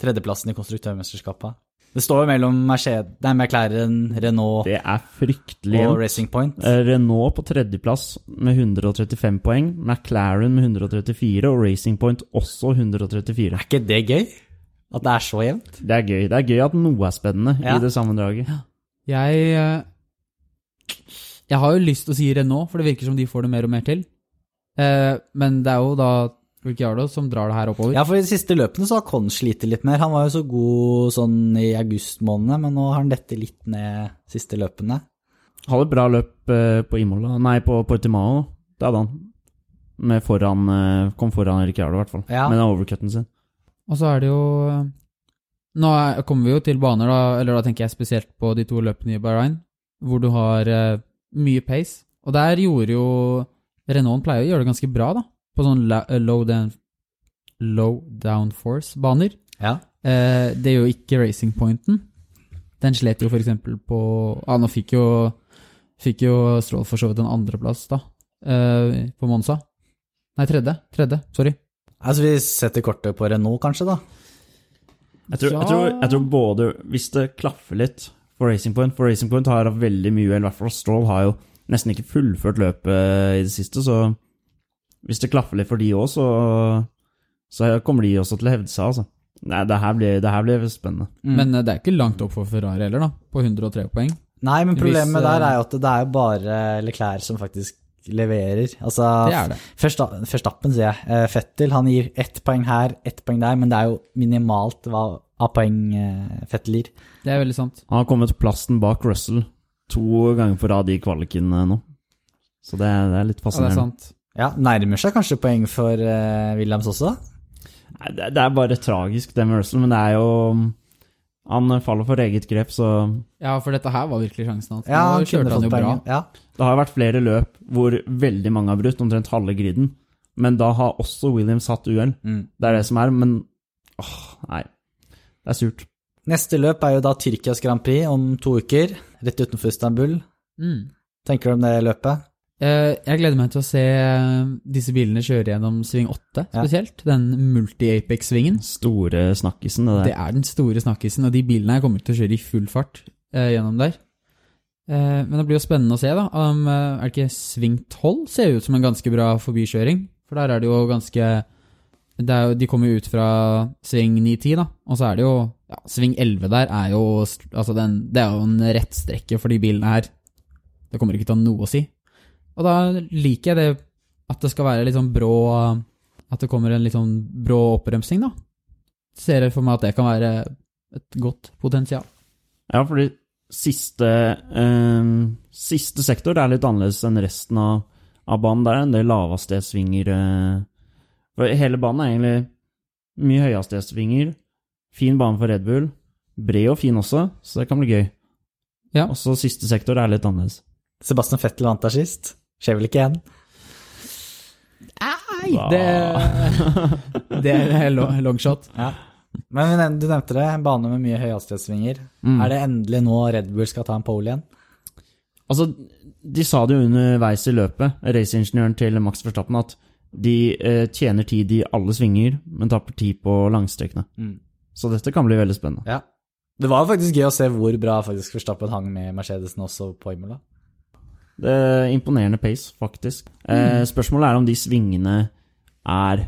tredjeplassen i konstruktørmesterskapet? Det står jo mellom Mercedes, nei, McLaren, Renault
Det er fryktelig
og
jevnt.
Racing Point.
Eh, Renault på tredjeplass med 135 poeng, McLaren med 134 og Racing Point også 134.
Er ikke det gøy? At det er så jevnt?
Det er gøy. Det er gøy at noe er spennende
Ja.
i det sammendraget.
Jeg eh, Jeg har jo lyst til å si Renault, for det virker som de får det mer og mer til. Eh, Men det er jo da Ricciardo som drar det her oppover.
Ja, for i de siste løpene så har Con slitt litt mer. Han var jo så god sånn i august måned, men nå har han dette litt ned siste løpene.
Hadde et bra løp eh, på Imola Nei, på Portimao. Det hadde han. Med foran, eh, kom foran Ricciardo, i hvert fall.
Ja.
Med den overcutten sin.
Og så er det jo eh, Nå er, kommer vi jo til baner, da, eller da tenker jeg spesielt på de to løpene i Bahrain, hvor du har eh, mye pace. Og der gjorde jo Renault pleier å gjøre det ganske bra, da, på sånn la, low, down, low downforce-baner.
Ja.
Eh, det gjør jo ikke Racing Pointen. Den slet jo for eksempel på Ja, nå fikk jo, fikk jo Stroll for så vidt en andreplass, da, eh, på Monza. Nei, tredje. Tredje, sorry.
Altså, vi setter kortet på Renault, kanskje, da.
Jeg tror,
Ja.
jeg, tror, jeg tror både Hvis det klaffer litt for Racing Point For Racing Point har hatt veldig mye uhell, i hvert fall Stroll har jo nesten ikke fullført løpet eh, i det siste, så hvis det klaffer litt for de òg, så, så kommer de også til å hevde seg, altså. Nei, det her blir, det her blir spennende.
Men eh, det er ikke langt opp for Ferrari heller, da, på 103 poeng.
Nei, men problemet
Hvis, eh,
der er jo at det er jo bare Leclerc som faktisk leverer. Altså,
Det er det.
Førsta- Førstappen, sier jeg. Eh, Fettel han gir ett poeng her, ett poeng der, men det er jo minimalt hva av poeng eh, Fettel gir.
Det er veldig sant.
Han har kommet plassen bak Russell to ganger på rad i kvaliken eh, nå. Så det, er- det er litt
Ja, det er
fascinerende.
sant.
Ja, Nærmer seg kanskje poeng for eh, Williams også?
Nei, det, det er bare tragisk, det med Russell, men det er jo Han faller for eget grep, så
Ja, for dette her var virkelig sjansen hans.
Ja, han
Nå kjørte
kunne
han
fått
jo bra.
poeng. Ja.
Det har jo vært flere løp hvor veldig mange har brutt, omtrent halve griden. Men da har også Williams hatt uhell.
Mm.
Det er det som er, men åh, nei. Det er surt.
Neste løp er jo da Tyrkias Grand Prix om to uker, rett utenfor Istanbul.
Mm.
Tenker du om det løpet?
Eh, Jeg gleder meg til å se eh, disse bilene kjøre gjennom sving 8,
Ja.
spesielt. Den multi-apex-svingen.
Store snakkisen, det
Det
der.
er den store snakkisen, og de bilene her kommer til å kjøre i full fart eh, gjennom der. Eh, men det blir jo spennende å se, da. Om, eh, er det ikke sving 12? Ser jo ut som en ganske bra forbikjøring. For der er det jo ganske det er jo, De kommer jo ut fra sving 9-10, da. Og så er det jo ja, Sving 11 der er jo st- altså den, Det er jo en rettstrekke for de bilene her. Det kommer ikke til å ha noe å si. Og da liker jeg det at det skal være litt sånn brå At det kommer en litt sånn brå oppbremsing, da ser jeg for meg at det kan være et godt potensial.
Ja, fordi siste, eh, siste sektor det er litt annerledes enn resten av, av banen. Der er en del lavhastighetssvinger. eh. for hele banen er egentlig mye høyhastighetssvinger. Fin bane for Red Bull. Bred og fin også, så det kan bli gøy.
Ja.
Også siste sektor er litt annerledes.
Sebastian Fettel vant der sist. Skjer vel ikke igjen?
Nei, det, det er lo- long shot.
Men vi nevnte- du nevnte det, en bane med mye høyhastighetssvinger.
Mm.
Er det endelig nå Red Bull skal ta en pole igjen?
Altså, de sa det jo underveis i løpet, raceingeniøren til Max Verstappen, at de eh, tjener tid i alle svinger, men taper tid på langstrekene.
Mm.
Så dette kan bli veldig spennende.
Ja. Det var jo faktisk gøy å se hvor bra faktisk Verstappen hang med Mercedesen også på Imola.
Det er imponerende pace, faktisk. Eh, spørsmålet er om de svingene er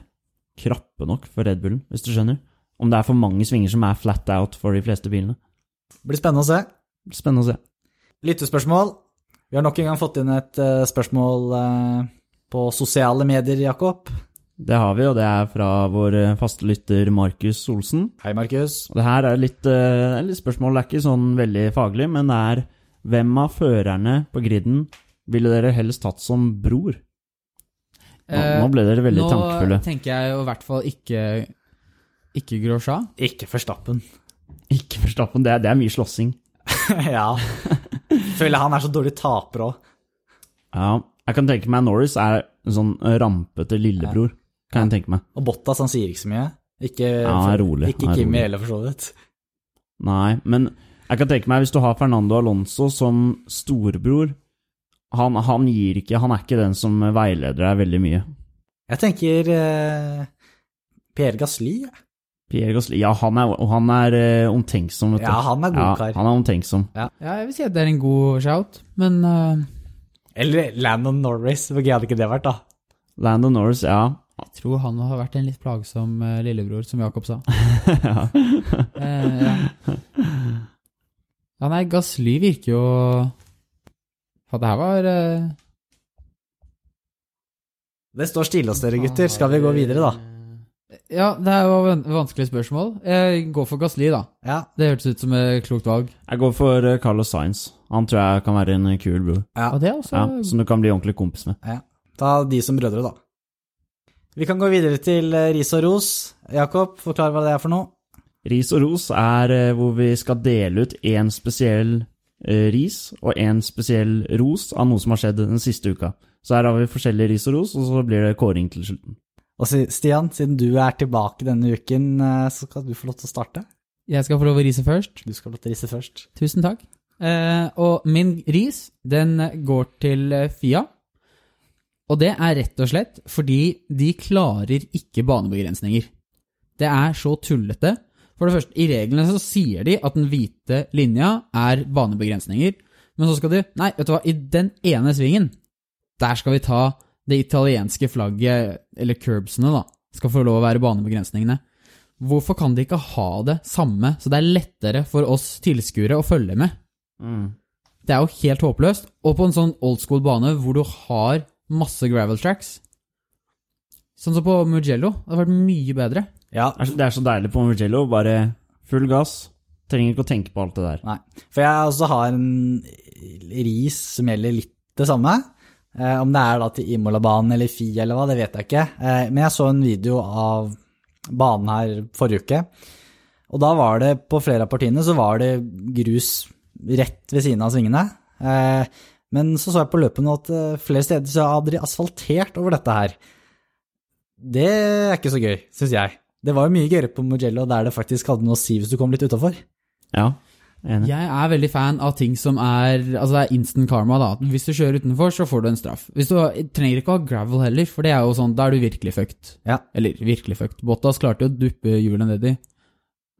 krappe nok for Red Bullen, hvis du skjønner. Om det er for mange svinger som er flat out for de fleste bilene.
Det Blir spennende å se.
Spennende å se.
Lyttespørsmål. Vi har nok en gang fått inn et eh, spørsmål eh, på sosiale medier, Jakob.
Det har vi, og det er fra vår eh, faste lytter Markus Olsen.
Hei, Markus.
Og Det her er litt, eh, litt spørsmål, det er ikke sånn veldig faglig, men det er hvem av førerne på griden ville dere helst tatt som bror? Nå,
Eh,
nå ble dere veldig
Nå
tankefulle.
tenker jeg jo i hvert fall ikke ikke Grosja.
Ikke Verstappen.
(laughs) Ikke Verstappen, det, er- det er mye slåssing.
(laughs) ja. Føler han er så dårlig taper òg.
Ja, jeg kan tenke meg Norris er en sånn rampete lillebror, kan jeg tenke meg.
Og Bottas, han sier ikke så mye. Ikke,
Ja, han er rolig,
ikke
han er
Kimi
rolig.
heller, for så vidt.
Nei, men jeg kan tenke meg hvis du har Fernando Alonso som storebror, han, han gir ikke, han er ikke den som veileder deg veldig mye.
Jeg tenker eh, Pierre Gasly. jeg.
Pierre Gasly, ja, han er, og han er eh, omtenksom, vet du.
Ja, han er god kar.
han er omtenksom.
Ja, jeg vil si at det er en god shout, men eh,
Eller Landon Norris. Hvor gøy hadde ikke det vært, da?
Landon Norris, ja. (laughs)
jeg tror han har vært en litt plagsom eh, lillebror, som Jakob sa.
ja.
Eh, ja. ja, nei, Gasly virker jo Ja, det her var eh,
Det står stille hos dere, gutter. Skal vi gå videre, da?
Ja, det er jo van- vanskelig spørsmål. Jeg går for Gasli, da.
Ja,
Det hørtes ut som et klokt valg.
Jeg går for eh, Carlos Sainz. Han tror jeg kan være en eh, kul bror.
Ja.
Og det er også
Ja,
Mm.
som du kan bli ordentlig kompis med.
ja. Ta de som brødre, da. Vi kan gå videre til eh, ris og ros. Jakob, forklar hva det er for noe.
Ris og ros er eh, hvor vi skal dele ut én spesiell eh, ris og én spesiell ros av noe som har skjedd den siste uka. Så her har vi forskjellige ris og ros, og så blir det kåring til slutten.
Og si- Stian, siden du er tilbake denne uken, eh, så skal du få lov til å starte.
Jeg skal få lov å rise først.
Du skal få lov til å rise først.
Tusen takk. Eh, og min ris, den går til eh, Fia. Og det er rett og slett fordi de klarer ikke banebegrensninger. Det er så tullete. For det første, i reglene så sier de at den hvite linja er banebegrensninger, men så skal de Nei, vet du hva, i den ene svingen, der skal vi ta det italienske flagget, eller curbsene, da, skal få lov å være banebegrensningene. Hvorfor kan de ikke ha det samme, så det er lettere for oss tilskuere å følge med?
Mm.
Det er jo helt håpløst. Og på en sånn old school bane hvor du har masse gravel tracks, sånn som på Mugello, det hadde vært mye bedre.
Ja,
Det er så- Det er så deilig på Mugello. Bare full gass. Trenger ikke å tenke på alt det der.
Nei. For jeg også har en ris som gjelder litt det samme. Eh, om det er da til Imola-banen eller Fi eller hva, det vet jeg ikke. Eh, men jeg så en video av banen her forrige uke. Og da var det på flere av partiene så var det grus rett ved siden av svingene. Eh, men så så jeg på løpet nå at eh, flere steder så hadde de asfaltert over dette her. Det er ikke så gøy, syns jeg. Det var jo mye gøyere på Mugello der det faktisk hadde noe å si hvis du kom litt utafor.
Ja, enig.
Jeg er veldig fan av ting som er Altså, det er instant karma, da. Hvis du kjører utenfor, så får du en straff. Hvis du trenger ikke å ha gravel heller, for det er jo sånn, da er du virkelig fucked.
Ja.
Eller virkelig fucked. Bottas klarte jo å duppe hjulet nedi,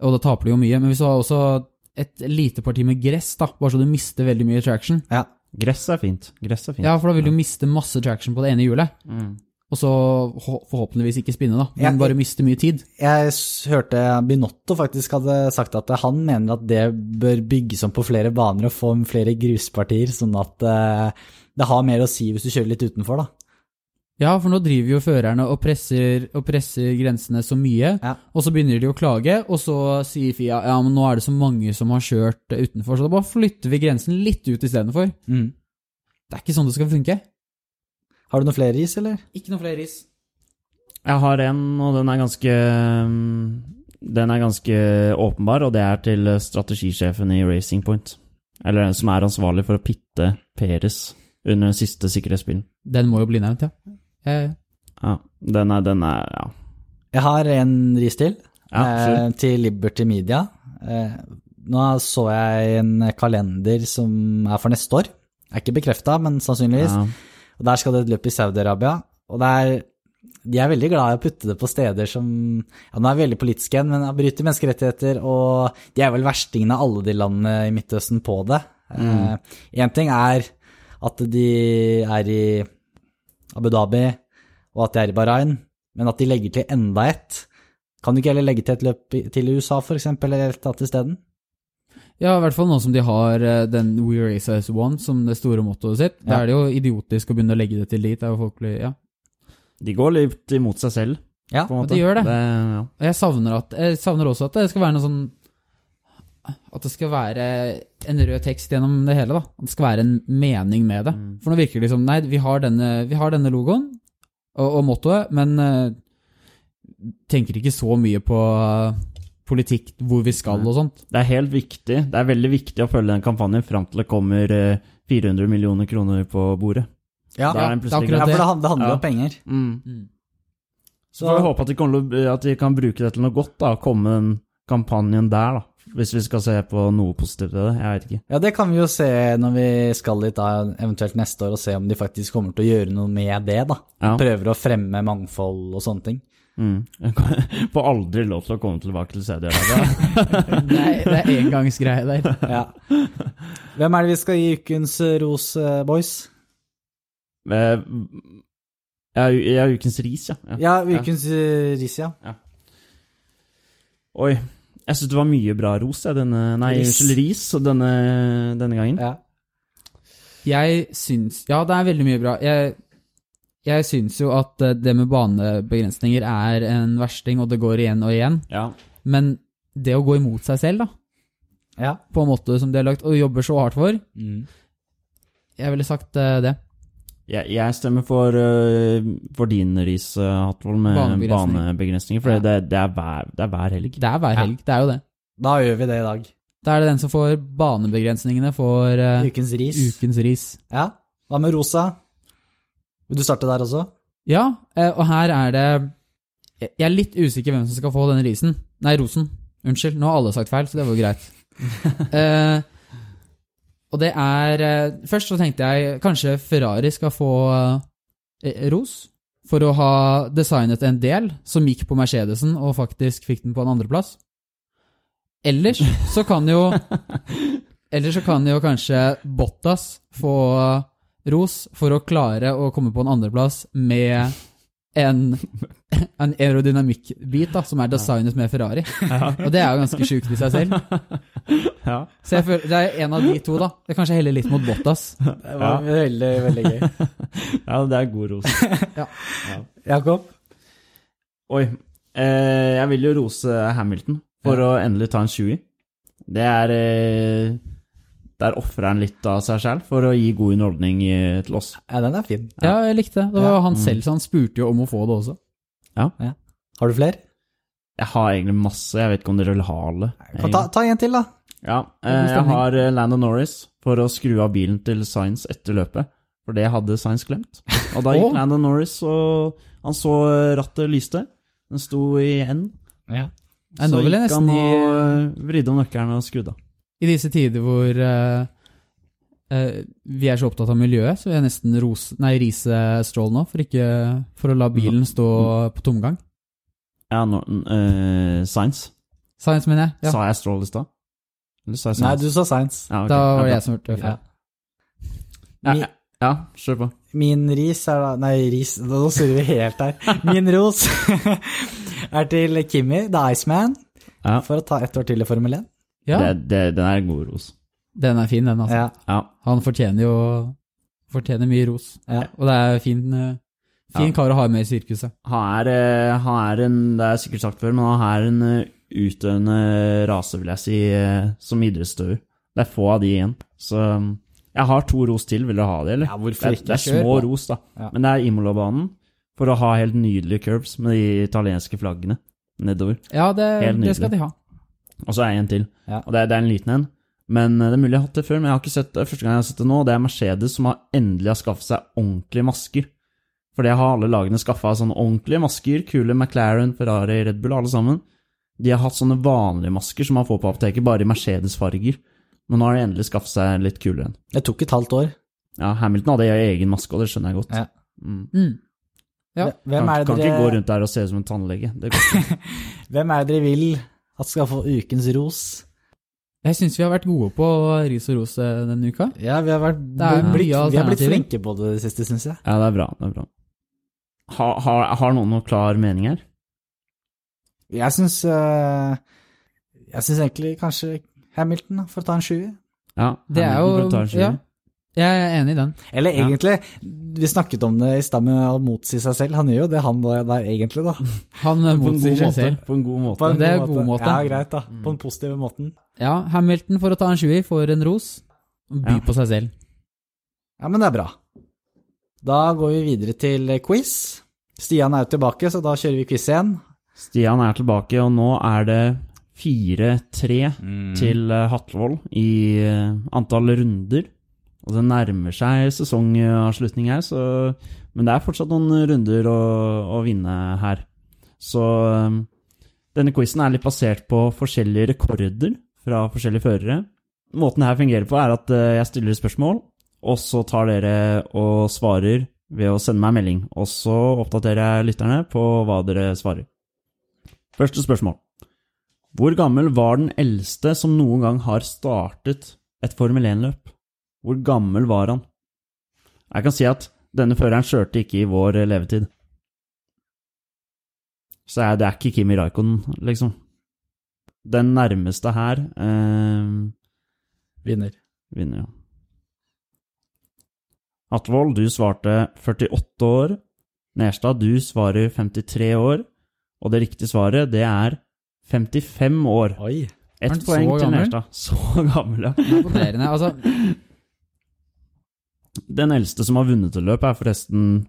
og da taper du jo mye. Men hvis du har også et lite parti med gress, da, bare så du mister veldig mye traction
Ja.
Gress er fint. Gress er fint.
Ja, for da vil du miste masse traction på det ene hjulet,
Mm.
og så hå- forhåpentligvis ikke spinne, da,
Ja.
men bare miste mye tid.
Jeg s- hørte Binotto faktisk hadde sagt at han mener at det bør bygges om på flere baner og få flere gruspartier, sånn at eh, det har mer å si hvis du kjører litt utenfor, da.
Ja, for nå driver jo førerne og presser, og presser grensene så mye,
Ja.
og så begynner de å klage, og så sier Fia ja, men nå er det så mange som har kjørt utenfor, så da bare flytter vi grensen litt ut istedenfor. Det er ikke sånn det skal funke.
Mm. Har du noen flere is, eller?
Ikke noe flere is.
Jeg har en, og den er ganske mm, Den er ganske åpenbar, og det er til eh, strategisjefen i Racing Point. Eller den som er ansvarlig for å pitte Peres under den siste sikkerhetsbilen.
Den må jo bli nevnt, ja. Eh,
Ja, den er, den er Ja,
Jeg har en ris til,
ja absolutt.
eh, til Liberty Media. Eh, nå så jeg en kalender som er for neste år. Er ikke bekrefta, men sannsynligvis.
Ja.
Og der skal det et løp i Saudi-Arabia. Og det er, de er veldig glad i å putte det på steder som ja, Nå er vi veldig politiske igjen, men bryter menneskerettigheter. Og de er vel verstingene av alle de landene i Midtøsten på det.
Mm.
Én ting er at de er i Abu Dhabi, og at de er i Bahrain, men at de legger til enda ett. Kan du ikke heller legge til et løp i- til USA, for eksempel, eller et annet sted?
ja, i hvert fall nå som de har eh, den We Race As One som det store mottoet sitt. Da
Ja.
er det jo idiotisk å begynne å legge det til dit. Det er jo folk, blir- ja.
De går litt imot seg selv,
Ja,
på en måte.
de gjør det.
ja.
Og jeg savner, at, jeg savner også at det skal være noe sånn At det skal være en rød tekst gjennom det hele. da. At det skal være en mening med det. For nå virker det som Nei, vi har denne, vi har denne logoen og, og mottoet, men eh, tenker ikke så mye på eh, politikk, hvor vi skal og sånt.
Det er helt viktig. Det er veldig viktig å følge den kampanjen fram til det kommer eh, 400 millioner kroner på bordet.
ja.
Da er den
det er
plutselig
ja
akkurat
grei.
for det handler det handler jo
Ja.
om penger.
Mm.
Så får vi håpe at de, kan, eh, at de kan bruke det til noe godt, da, og komme den kampanjen der, da. Hvis vi skal se på noe positivt ved det. Jeg vet ikke.
Ja, det kan vi jo se når vi skal dit da, eventuelt neste år, og se om de faktisk kommer til å gjøre noe med det, da.
Ja.
Prøver å fremme mangfold og sånne ting.
Mm. (laughs) Får aldri lov til å komme tilbake til CD-laget.
Nei, (laughs) det er engangsgreie der.
(laughs) Ja. (laughs) Hvem er det vi skal gi ukens eh, ros, eh, boys?
Eh, Jeg jeg er ukens ris, ja. ja.
Ja, ukens eh, ris, ja.
Oi. Jeg syns det var mye bra ros, jeg, denne Nei,
Ris.
unnskyld, ris denne, denne gangen.
ja.
Jeg syns Ja, det er veldig mye bra. Jeg, jeg syns jo at eh, det med banebegrensninger er en versting, og det går igjen og igjen.
Ja.
Men det å gå imot seg selv, da,
Ja. Mm.
på en måte som de har lagt, og jobber så hardt for, jeg ville sagt eh, det.
Jeg, jeg stemmer for, øh, for din ris, øh, Hatvold, med
Banebegrensning.
banebegrensninger. For
Ja.
det, det, er hver, det er hver helg.
Det er hver
Ja.
helg, det er jo det.
Da gjør vi det i dag.
Da er det den som får banebegrensningene for eh,
Ukens ris.
ukens ris.
Ja. Hva med rosa? Vil du starte der også?
Ja, eh, og her er det Jeg jeg er litt usikker hvem som skal få denne risen. Nei, rosen. Unnskyld, nå har alle sagt feil, så det var jo greit. Eh, og det er eh, Først så tenkte jeg kanskje Ferrari skal få eh, ros for å ha designet en del som gikk på Mercedesen, og faktisk fikk den på en andreplass. Ellers så kan jo Ellers så kan jo kanskje Bottas få ros for å klare å komme på en andreplass med en, en aerodynamikkbit da, som er designet med Ferrari.
(laughs)
Og det er jo ganske sjukt i seg selv.
Ja.
Så jeg føler, det er en av de to, da. Det er kanskje heller litt mot Bottas.
Det var veldig, veldig gøy.
ja, det er god ros.
(laughs) Jakob?
Oi. Eh, jeg vil jo rose Hamilton for å endelig ta en 20. Det er eh, Der ofrer han litt av seg selv for å gi god underholdning eh, til oss.
Ja, den er fin.
Ja, jeg likte det. Det var jo han selv, så han spurte jo om å få det også.
Har du flere?
Jeg har egentlig masse, jeg vet ikke om dere vil ha alle.
Kan ta, ta en til, da.
Ja,
er god
eh, jeg
stemning.
har eh, Lando Norris for å skru av bilen til Sainz etter løpet. For det hadde Sainz glemt. Og
(laughs)
da
Åh.
gikk Lando Norris, og han så eh, rattet lyste. Den sto i N.
Nei, nå
Så
vil jeg
gikk han
nesten
og
i,
eh, vridde om nøkkelen og skrudde av.
i disse tider hvor eh, eh, vi er så opptatt av miljøet, så vil jeg nesten rose, nei, rise Stroll nå for, ikke, for å la bilen stå på tomgang.
Ja, no, eh, Sainz.
Science, mener jeg. Ja.
Sa jeg Stroll i stad? Eller sa jeg
Nei,
Sainz?
du sa Science.
ja, ok.
Da var det
Ja,
jeg som hørte feil.
Ja.
Ja,
Min,
ja, ja, kjør på.
min ris er da Nei, ris Nå surrer vi helt her. Min ros (laughs) er til Kimmy, The Iceman,
Ja.
for å ta ett år til i Formel 1.
Ja,
Det, det, den er god ros.
den er fin, den, altså.
Ja.
Ja.
Han fortjener jo fortjener mye ros.
Ja.
Og det er fin, eh, fin
Ja.
kar å ha med i sirkuset.
Han er, eh, han er en, det er sikkert sagt før, men han er en eh, utøvende rase, vil jeg si, eh, som idrettsutøver. Det er få av de igjen. Så um, jeg har to ros til, vil du ha det, eller?
Ja, hvorfor
det, er-
ikke?
det er
Kjør
små
på.
ros, da.
Ja.
Men det er Imola-banen, for å ha helt nydelige curves med de italienske flaggene nedover.
Ja, det,
Helt
det skal de ha.
Og så er jeg en til.
Ja.
Og det er, det er en liten en. Men eh, det er mulig jeg har hatt det før, men jeg har ikke sett det. Første gang jeg har sett det nå, det er Mercedes som har endelig har skaffet seg ordentlige masker. For det har alle lagene skaffa sånne ordentlige masker. Kule McLaren, Ferrari, Red Bull, alle sammen. De har hatt sånne vanlige masker som man får på apoteket, bare i Mercedes-farger. Men nå har de endelig skaffet seg litt kulere en.
Det tok et halvt år.
Ja, Hamilton hadde egen maske, og det skjønner jeg godt.
Ja.
Mm.
Mm. Ja.
Hvem
Kan,
er, det
kan ikke gå
dere,
rundt der og se ut som en tannlege. Det går ikke.
hvem er det dere vil at skal få ukens ros?
Jeg syns vi har vært gode på ris og ros eh, denne uka.
Ja, vi har, vært,
er mye
blitt, vi har blitt
alternativer.
flinke på det siste, syns jeg.
ja, det er bra. det er bra. Har, har, har noen noen klar mening her?
Jeg syns Jeg syns egentlig kanskje Hamilton, da, for å ta en sjuer.
Ja,
Det er jo-
Hamilton bør ta en
ja.
sjuer.
Jeg er enig i den.
Eller
Ja.
egentlig, vi snakket om det i stad med å motsi seg selv. Han gjør jo det, han der egentlig, (laughs) da.
Han eh,
På en
motsier
god
seg
måte.
selv.
På en god måte.
På en
Det er god måte.
Ja, greit, da. På den positive måten.
Ja, Hamilton for å ta en sjuer får en ros. By
Ja.
på seg selv.
Ja, men det er bra. Da går vi videre til quiz. Stian er jo tilbake, så da kjører vi quiz igjen.
Stian er tilbake, og nå er det 4-3 til eh, Hatlevold i eh, antall runder. Og det nærmer seg sesongavslutning her, så, men det er fortsatt noen runder å, å vinne her. Så eh, denne quizen er litt basert på forskjellige rekorder fra forskjellige førere. Måten det her fungerer på, er at eh, jeg stiller spørsmål, og så tar dere og svarer ved å sende meg en melding. Og så oppdaterer jeg lytterne på hva dere svarer. Første spørsmål. Hvor gammel var den eldste som noen gang har startet et Formel 1-løp? Hvor gammel var han? Jeg kan si at denne føreren kjørte ikke i vår eh, levetid. Så er- det er ikke Kimi Raikkonen, liksom. Den nærmeste her eh,
Vinner.
vinner, ja. Atvold, du svarte 48 år. Nerstad, du svarer 53 år, og det riktige svaret, det er 55 år.
Oi.
Er
Ett
han
poeng
så
til
gammel?
Nerstad. Så gammel, ja.
Imponerende. Altså,
Den eldste som har vunnet et løp, er forresten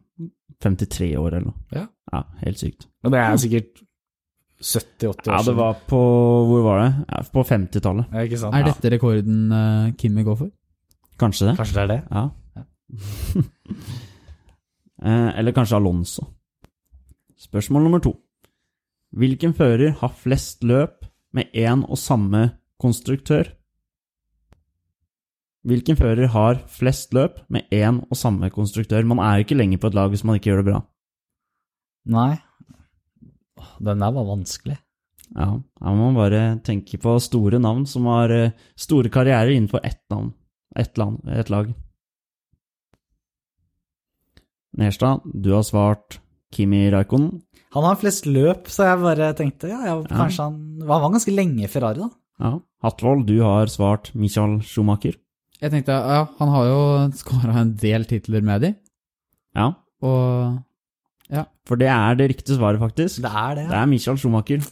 53 år eller noe.
Ja.
ja helt sykt.
Men det er sikkert 70-80 år
Ja, det var på Hvor var det? Ja, på 50-tallet.
Ja, ikke sant?
er dette rekorden eh, Kimmi går for?
Kanskje det.
Kanskje det er det?
Ja. Eh, eller kanskje Alonso. Spørsmål nummer to. Hvilken fører har flest løp med én og samme konstruktør? Hvilken fører har flest løp med én og samme konstruktør? Man er jo ikke lenger på et lag hvis man ikke gjør det bra.
Nei. Åh, Den der var vanskelig.
Ja, her må man bare tenke på store navn som har eh, store karrierer innenfor ett navn, ett land, ett lag. Nerstad, du har svart Kimi Raikkonen.
Han har flest løp, så jeg bare tenkte ja, ja kanskje han Han var ganske lenge i Ferrari, da.
Ja. Hatvold, du har svart Michael Schumacher.
Jeg tenkte, ja, han har jo skåra en del titler med de,
Ja,
og
for det er det riktige svaret, faktisk.
Det er det.
Det er Michael Schumacher.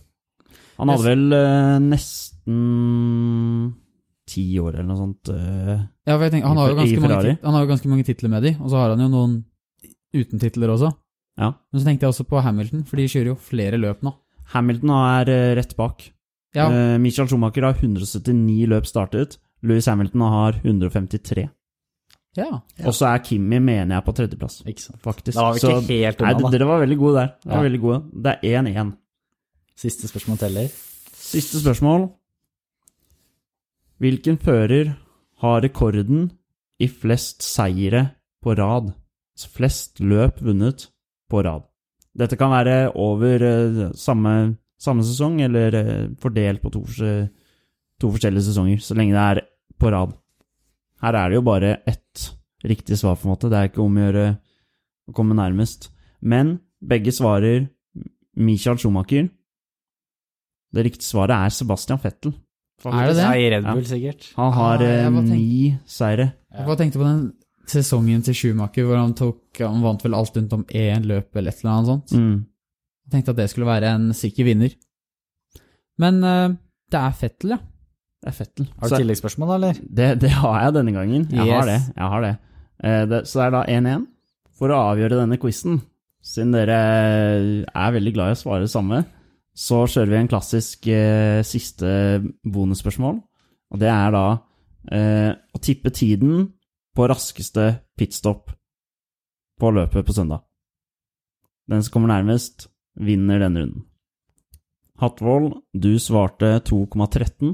Han hadde vel eh, nesten ti år eller noe sånt. eh,
Ja, for jeg tenker, han, har jo
I- i
ganske mange
Ferrari?
tit- han har jo ganske mange titler med de, og så har han jo noen uten titler også.
Ja.
Men så tenkte jeg også på Hamilton, for de kjører jo flere løp nå.
Hamilton er eh, rett bak.
Ja,
Eh, Michael Schumacher har 179 løp startet. Louis Hamilton har 153.
ja.
Og så er Kimi, mener jeg, på tredjeplass,
Ikke sant.
faktisk.
Da var vi ikke
så,
helt
nei,
unna, da.
dere var veldig gode der. Dere var
Ja.
veldig gode. Det er 1-1.
Siste spørsmål teller.
Siste spørsmål. Hvilken fører har rekorden i flest seire på rad? Altså flest løp vunnet på rad. Dette kan være over eh, samme, samme sesong, eller eh, fordelt på to, forse- to forskjellige sesonger, så lenge det er på rad. Her er det jo bare ett riktig svar, på en måte. Det er ikke om å gjøre å komme nærmest. Men begge svarer Michael Schumacher. Det riktige svaret er Sebastian Fettel.
Er det det?
Ja, I Red Bull, sikkert.
Han
Ah,
har eh,
jeg bare tenkte-
ni seire.
Ja.
Jeg bare tenkte på den sesongen til Schumacher, hvor han, tok, han vant vel alt rundt om én løp eller et eller annet sånt.
Mm.
Jeg tenkte at det skulle være en sikker vinner. Men eh, det er Fettel, ja.
Det er Fettel.
Har du
Så,
tilleggsspørsmål, da, eller?
det, det har jeg denne gangen. Jeg
Yes.
har det. Jeg har det. Eh, det. Så det er da 1-1. For å avgjøre denne quizen, siden dere er veldig glad i å svare det samme, så kjører vi en klassisk eh, siste bonusspørsmål. Og det er da eh, å tippe tiden på raskeste pitstop på løpet på søndag. Den som kommer nærmest, vinner denne runden. Hatvold, du svarte 2,13.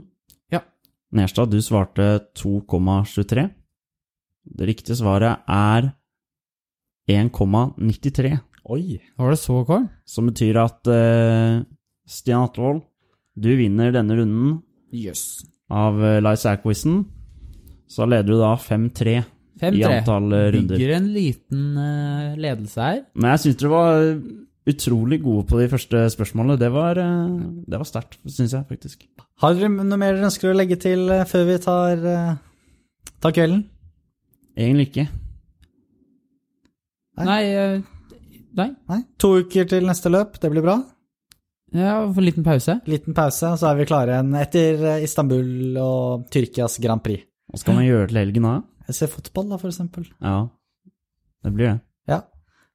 Ja.
Nerstad, du svarte 2,23. Det riktige svaret er 1,93,
Oi.
Var det så kål?
som betyr at eh, Stian Hatvold, du vinner denne runden
Jøss.
av uh, Lice Air-quizen. Så leder du da 5-3 i
5-3.
antall eh, runder.
Bygger en liten eh, ledelse her.
Men jeg syns dere var eh, utrolig gode på de første spørsmålene. Det var, eh, det var sterkt, syns jeg faktisk.
Har dere noe mer dere ønsker å legge til eh, før vi tar, eh, tar kvelden?
Egentlig ikke.
Nei.
Nei, eh, nei.
Nei? To uker til neste løp, det blir bra.
Ja, for en liten pause.
Liten pause, så er vi klare igjen etter eh, Istanbul og Tyrkias Grand Prix.
Hva (laughs) skal man gjøre til helgen da?
Jeg ser fotball, da, for eksempel.
Ja, det blir det.
Ja.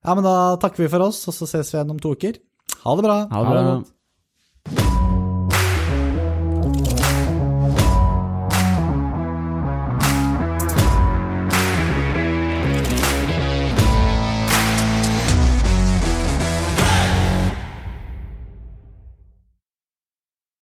ja, men da takker vi for oss, og så ses vi igjen om to uker. Ha det bra.
Ha det
Ha
bra.
det godt.